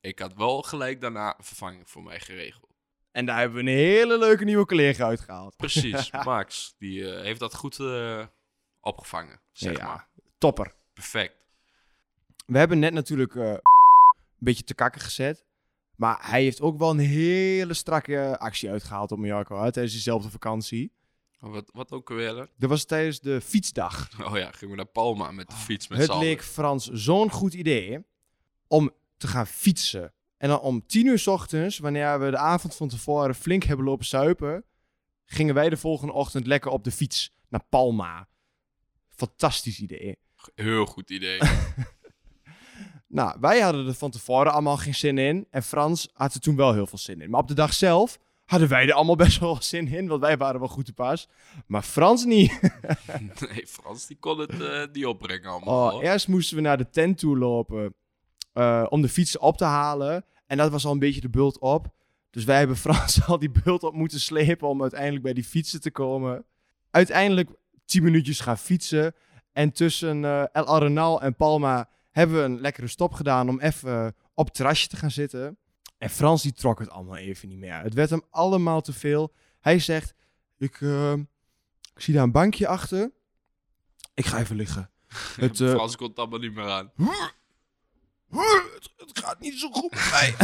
S2: ik had wel gelijk daarna een vervanging voor mij geregeld.
S1: En daar hebben we een hele leuke nieuwe collega uitgehaald.
S2: Precies, Max, die eh, heeft dat goed eh, opgevangen, zeg
S1: Ja,
S2: maar.
S1: Topper.
S2: Perfect.
S1: We hebben net natuurlijk eh, een beetje te kakken gezet. Maar hij heeft ook wel een hele strakke actie uitgehaald op Mallorca hè, tijdens diezelfde vakantie.
S2: Wat, wat ook weer, hè?
S1: Dat was tijdens de fietsdag.
S2: Oh ja, gingen we naar Palma met de fiets met
S1: Ah, Het
S2: z'n allen.
S1: leek Frans zo'n goed idee om te gaan fietsen. En dan om tien uur 's ochtends, wanneer we de avond van tevoren flink hebben lopen suipen, gingen wij de volgende ochtend lekker op de fiets naar Palma. Fantastisch idee.
S2: Heel goed idee.
S1: Nou, wij hadden er van tevoren allemaal geen zin in. En Frans had er toen wel heel veel zin in. Maar op de dag zelf hadden wij er allemaal best wel zin in, want wij waren wel goed te pas. Maar Frans niet.
S2: nee, Frans, die kon het eh, niet opbrengen allemaal.
S1: Oh,
S2: hoor.
S1: eerst moesten we naar de tent toe lopen eh, om de fietsen op te halen. En dat was al een beetje de bult op. Dus wij hebben Frans al die bult op moeten slepen om uiteindelijk bij die fietsen te komen. Uiteindelijk tien minuutjes gaan fietsen. En tussen eh, El Arenal en Palma hebben we een lekkere stop gedaan om even eh, op het terrasje te gaan zitten. En Frans die trok het allemaal even niet meer. Het werd hem allemaal te veel. Hij zegt, ik, eh, ik zie daar een bankje achter. Ik ga even liggen. Het, eh,
S2: Frans kon het allemaal niet meer aan.
S1: het, gaat niet zo goed met mij.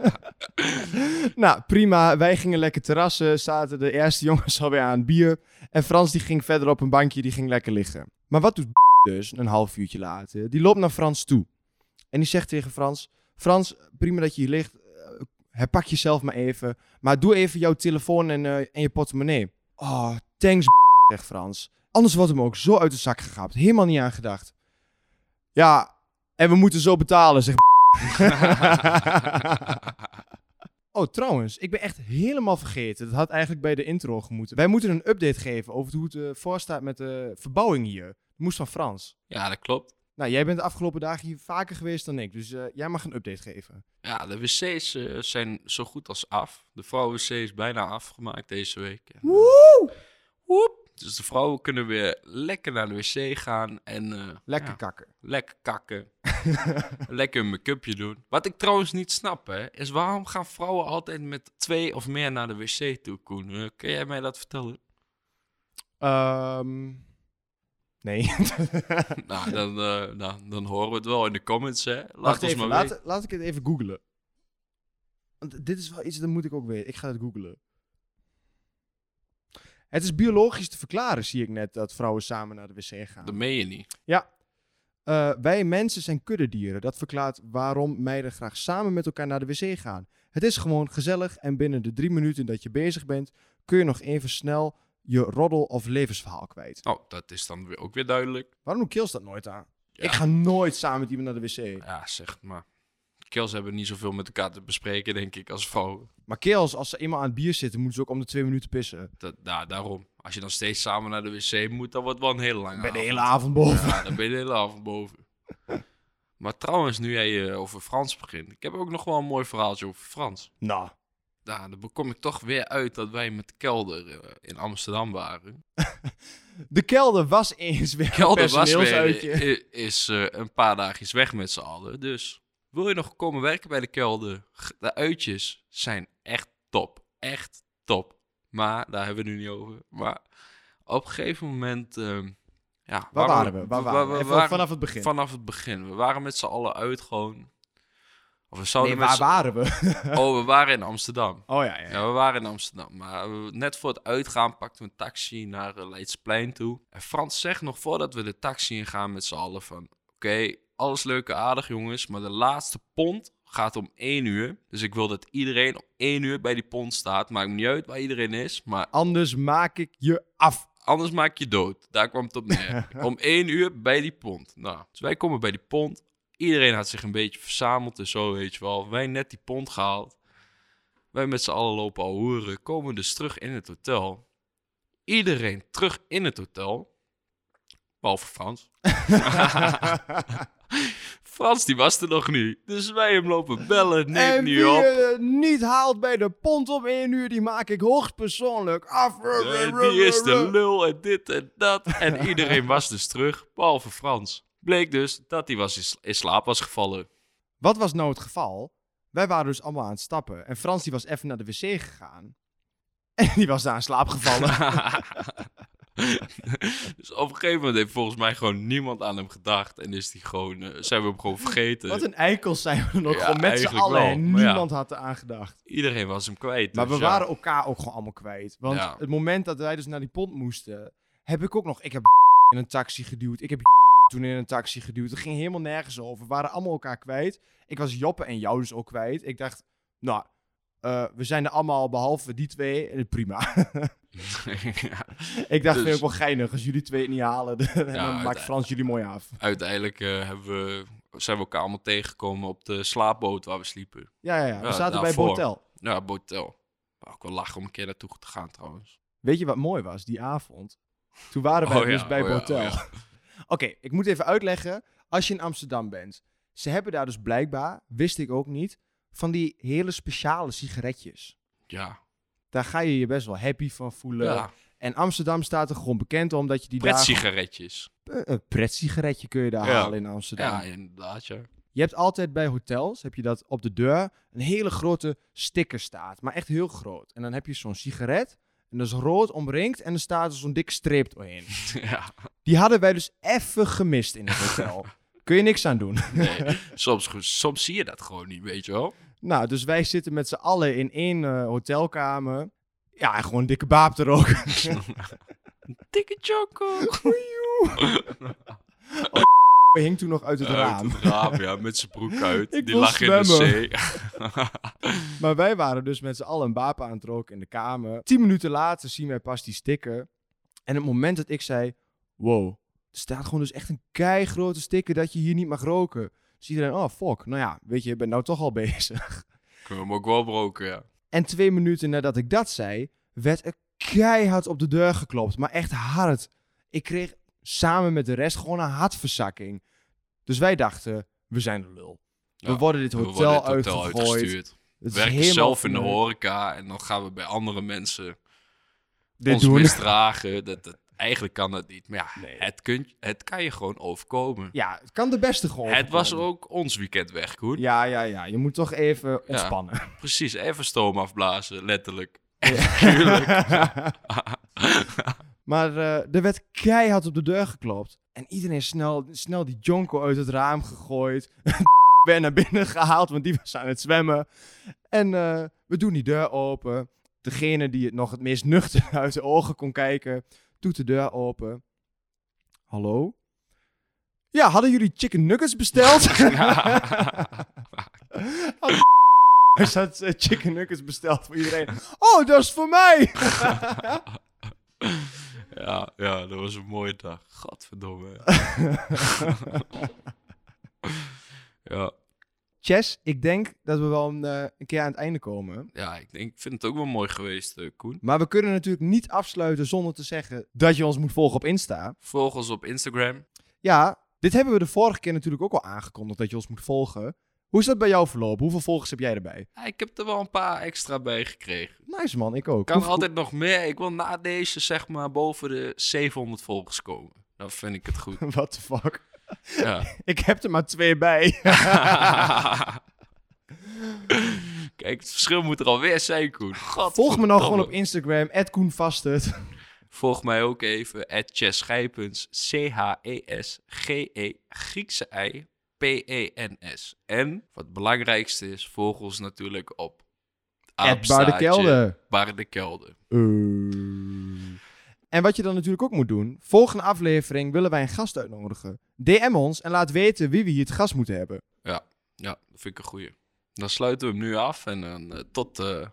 S1: nou, prima. Wij gingen lekker terrassen. Zaten de eerste jongens alweer aan het bier. En Frans die ging verder op een bankje. Die ging lekker liggen. Maar wat doet dus een half uurtje later? Die loopt naar Frans toe. En die zegt tegen Frans... Frans, prima dat je hier ligt. Eh, Herpak jezelf maar even. Maar doe even jouw telefoon en, eh, en je portemonnee. Oh, thanks, zegt Frans. Anders wordt hem ook zo uit de zak gegapt. Helemaal niet aan gedacht. Ja, en we moeten zo betalen, zegt. oh, trouwens, ik ben echt helemaal vergeten. Dat had eigenlijk bij de intro gemoeten. Wij moeten een update geven over hoe het eh, voorstaat met de verbouwing hier. Dat moest van Frans.
S2: ja, dat klopt.
S1: Nou, jij bent de afgelopen dagen hier vaker geweest dan ik, dus eh, jij mag een update geven.
S2: Ja, de wc's eh, zijn zo goed als af. De vrouwen-wc is bijna afgemaakt deze week. En, eh, woep. Dus de vrouwen kunnen weer lekker naar de wc gaan en eh,
S1: Lekker
S2: ja,
S1: kakken.
S2: lekker kakken. lekker een make-upje doen. Wat ik trouwens niet snap, hè, is waarom gaan vrouwen altijd met twee of meer naar de wc toe, Koen? Eh, kun jij mij dat vertellen?
S1: Ehm, nee.
S2: nou, dan, eh, nou, dan horen we het wel in de comments, hè. Laat
S1: Wacht
S2: ons
S1: even,
S2: maar weten.
S1: laat, laat ik het even googlen. Want dit is wel iets, dat moet ik ook weten. Ik ga het googlen. Het is biologisch te verklaren, zie ik net, dat vrouwen samen naar de wc gaan.
S2: Dat meen je niet.
S1: Eh, wij mensen zijn kuddedieren. Dat verklaart waarom meiden graag samen met elkaar naar de wc gaan. Het is gewoon gezellig en binnen de drie minuten dat je bezig bent, kun je nog even snel je roddel of levensverhaal kwijt.
S2: Nou, dat is dan weer, ook weer duidelijk.
S1: Waarom doet Kils dat nooit aan?
S2: Ja.
S1: Ik ga nooit samen met iemand naar de wc.
S2: Ja, zeg het maar. Kills hebben niet zoveel met elkaar te bespreken, denk ik, als vrouwen.
S1: Maar Kils, als ze eenmaal aan het bier zitten, moeten ze ook om de twee minuten pissen.
S2: Dat, nou, daarom. Als je dan steeds samen naar de wc moet, dan wordt het wel een hele lange
S1: Ik ben de
S2: avond.
S1: hele avond boven.
S2: Ja, dan ben je de hele avond boven. Maar trouwens, nu jij eh, over Frans begint. Ik heb ook nog wel een mooi verhaaltje over Frans.
S1: Nou,
S2: Nou, dan kom ik toch weer uit dat wij met Kelder eh, in Amsterdam waren.
S1: de kelder was eens weer een
S2: Kelder was weer,
S1: personeelsuitje.
S2: eh, i- is eh, een paar dagjes weg met z'n allen. Dus wil je nog komen werken bij de Kelder? G- De uitjes zijn echt top. Echt top. Maar, daar hebben we het nu niet over. Maar op een gegeven moment... ehm, ja,
S1: Waar waren we? Waar waren we? Even
S2: waren-
S1: vanaf het begin.
S2: Vanaf het begin. We waren met z'n allen uit gewoon. Of we zouden
S1: Nee, waar
S2: met z'n-
S1: waren we?
S2: Oh, we waren in Amsterdam.
S1: Oh ja, ja.
S2: Ja, we waren in Amsterdam. Maar we- net voor het uitgaan pakten we een taxi naar eh, Leidsplein toe. En Frans zegt nog voordat we de taxi ingaan met z'n allen van... Oké, alles leuk en aardig jongens, maar de laatste pond gaat om één uur. Dus ik wil dat iedereen om één uur bij die pond staat. Maakt me niet uit waar iedereen is, maar
S1: Anders maak ik je af.
S2: anders maak je dood. Daar kwam het op neer. Om één uur bij die pond. Nou, dus wij komen bij die pond. Iedereen had zich een beetje verzameld en zo, weet je wel. Wij net die pond gehaald. Wij met z'n allen lopen al hoeren. Komen dus terug in het hotel. Iedereen terug in het hotel. Behalve Frans. Frans, die was er nog niet. Dus wij hem lopen bellen. Neemt
S1: en
S2: niet
S1: wie
S2: op.
S1: het niet haalt bij de pond om één uur, die maak ik hoogstpersoonlijk af.
S2: Eh, die is de lul en dit en dat. En iedereen was dus terug, behalve Frans. Bleek dus dat hij was in, sla- in slaap was gevallen.
S1: Wat was nou het geval? Wij waren dus allemaal aan het stappen. En Frans die was even naar de wc gegaan. En die was daar in slaap gevallen.
S2: dus op een gegeven moment heeft volgens mij gewoon niemand aan hem gedacht. En is die gewoon, eh, zijn we hem gewoon vergeten.
S1: Wat een eikels zijn we nog.
S2: Ja,
S1: gewoon met z'n
S2: eigenlijk
S1: allen.
S2: wel,
S1: En
S2: maar ja.
S1: niemand had eraan gedacht.
S2: Iedereen was hem kwijt.
S1: Maar we
S2: dus ja.
S1: waren elkaar ook gewoon allemaal kwijt. Want
S2: Ja.
S1: het moment dat wij dus naar die pont moesten, heb ik ook nog. Ik heb in een taxi geduwd. Ik heb toen in een taxi geduwd. Het ging helemaal nergens over. We waren allemaal elkaar kwijt. Ik was Joppe en jou dus ook kwijt. Ik dacht, nou, eh, we zijn er allemaal behalve die twee. Eh, Prima.
S2: Ja,
S1: ik dacht,
S2: Dus-
S1: vind ik wel geinig. Als jullie twee het niet halen, dan
S2: uiteindelijk-
S1: maakt Frans jullie mooi af.
S2: Uiteindelijk eh, hebben we, zijn we elkaar allemaal tegengekomen op de slaapboot waar we sliepen.
S1: Ja, ja, ja. We
S2: Ja, nou,
S1: zaten bij
S2: daarvoor.
S1: Botel.
S2: Ja, botel. Ook wel lachen om een keer naartoe te gaan trouwens.
S1: Weet je wat mooi was die avond? Toen waren wij
S2: Oh ja,
S1: dus bij
S2: oh ja,
S1: Botel.
S2: oh ja.
S1: Oké, ik moet even uitleggen. Als je in Amsterdam bent, ze hebben daar dus blijkbaar, wist ik ook niet, van die hele speciale sigaretjes.
S2: Ja,
S1: Daar ga je je best wel happy van voelen.
S2: ja.
S1: En Amsterdam staat er gewoon bekend om dat je die daar...
S2: Pretsigaretjes.
S1: Eh, Een pretsigaretje kun je daar
S2: Ja.
S1: halen in Amsterdam.
S2: Ja, inderdaad, ja.
S1: Je hebt altijd bij hotels, heb je dat op de deur, een hele grote sticker staat. Maar echt heel groot. En dan heb je zo'n sigaret, en dat is rood omringd, en er staat er zo'n dikke streep doorheen.
S2: ja
S1: Die hadden wij dus even gemist in het hotel. kun je niks aan doen.
S2: nee. soms, goed- soms zie je dat gewoon niet, weet je wel.
S1: Nou, dus wij zitten met z'n allen in één eh, hotelkamer. Ja, en gewoon een dikke baap er ook.
S2: Dikke choco.
S1: hing toen nog uit het raam.
S2: Uit het raam, ja, met zijn broek uit.
S1: Ik
S2: Die
S1: wil
S2: lag in
S1: zwemmen.
S2: de zee.
S1: Maar wij waren dus met z'n allen een baap aan het roken in de kamer. Tien minuten later zien wij pas die sticker. En het moment dat ik zei, wow, er staat gewoon dus echt een keigrote sticker dat je hier niet mag roken. Dus iedereen, oh fuck, nou ja, weet je, je bent nou toch al bezig.
S2: Kunnen we hem ook wel broken, ja.
S1: En twee minuten nadat ik dat zei, werd er keihard op de deur geklopt. Maar echt hard. Ik kreeg samen met de rest gewoon een hartverzakking. Dus wij dachten, we zijn de lul.
S2: Ja,
S1: we worden dit
S2: We
S1: hotel,
S2: worden het hotel
S1: uitgegooid.
S2: uitgestuurd.
S1: Het
S2: We
S1: is
S2: werken
S1: helemaal
S2: zelf in de
S1: van, eh,
S2: horeca en dan gaan we bij andere mensen
S1: Dit
S2: ons
S1: doen.
S2: misdragen. Dat, dat, eigenlijk kan dat niet, maar ja,
S1: Nee.
S2: het, kun, het kan je gewoon overkomen.
S1: Ja, het kan de beste gewoon.
S2: het was ook ons weekend weg, Koen.
S1: Ja, ja, ja. Je moet toch even ontspannen.
S2: Precies, even stoom afblazen, letterlijk.
S1: maar eh, er werd keihard op de deur geklopt. En iedereen snel, snel die jonko uit het raam gegooid. werd naar binnen gehaald, want die was aan het zwemmen. En eh, we doen die deur open. Degene die het nog het meest nuchter uit de ogen kon kijken, doet de deur open. Hallo? Ja, hadden jullie chicken nuggets besteld? Hij had eh, chicken nuggets besteld voor iedereen. Oh, dat is voor mij!
S2: ja, ja, dat was een mooie dag. Gadverdomme. ja,
S1: Chess, ik denk dat we wel een, eh, een keer aan het einde komen.
S2: ja ik, denk, ik vind het ook wel mooi geweest, eh, Koen.
S1: Maar we kunnen natuurlijk niet afsluiten zonder te zeggen dat je ons moet volgen op Insta.
S2: Volg ons op Instagram.
S1: Ja, dit hebben we de vorige keer natuurlijk ook al aangekondigd dat je ons moet volgen. Hoe is dat bij jou verlopen? Hoeveel volgers heb jij erbij?
S2: Ja, ik heb er wel een paar extra bij gekregen.
S1: Nice man, ik ook.
S2: Kan
S1: Hoeveel-
S2: altijd nog meer. Ik wil na deze zeg maar boven de 700 volgers komen. Dan vind ik het goed.
S1: What the fuck?
S2: Ja.
S1: Ik heb er maar twee bij.
S2: Kijk, het verschil moet er alweer zijn, Koen.
S1: Volg me nou gewoon
S2: Godverdomme.
S1: op Instagram, @koenvastert.
S2: Volg mij ook even, at Chess Gijpens, E C-H-E-S-G-E, Griekse I, P-E-N-S. En, wat het belangrijkste is, volg ons natuurlijk op...
S1: At Baardekelder.
S2: Baardekelder.
S1: Eh. En wat je dan natuurlijk ook moet doen. Volgende aflevering willen wij een gast uitnodigen. DM ons en laat weten wie we hier het gast moeten hebben.
S2: Ja, dat vind ik een goeie. Dan sluiten we hem nu af en dan eh, tot eh,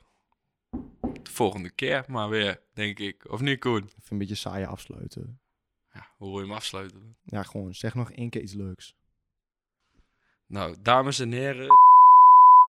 S2: de volgende keer maar weer, denk ik. Of niet, Koen?
S1: Even een beetje saaie afsluiten.
S2: Ja, hoe wil je hem afsluiten?
S1: Ja, gewoon zeg nog één keer iets leuks.
S2: Nou, dames en heren...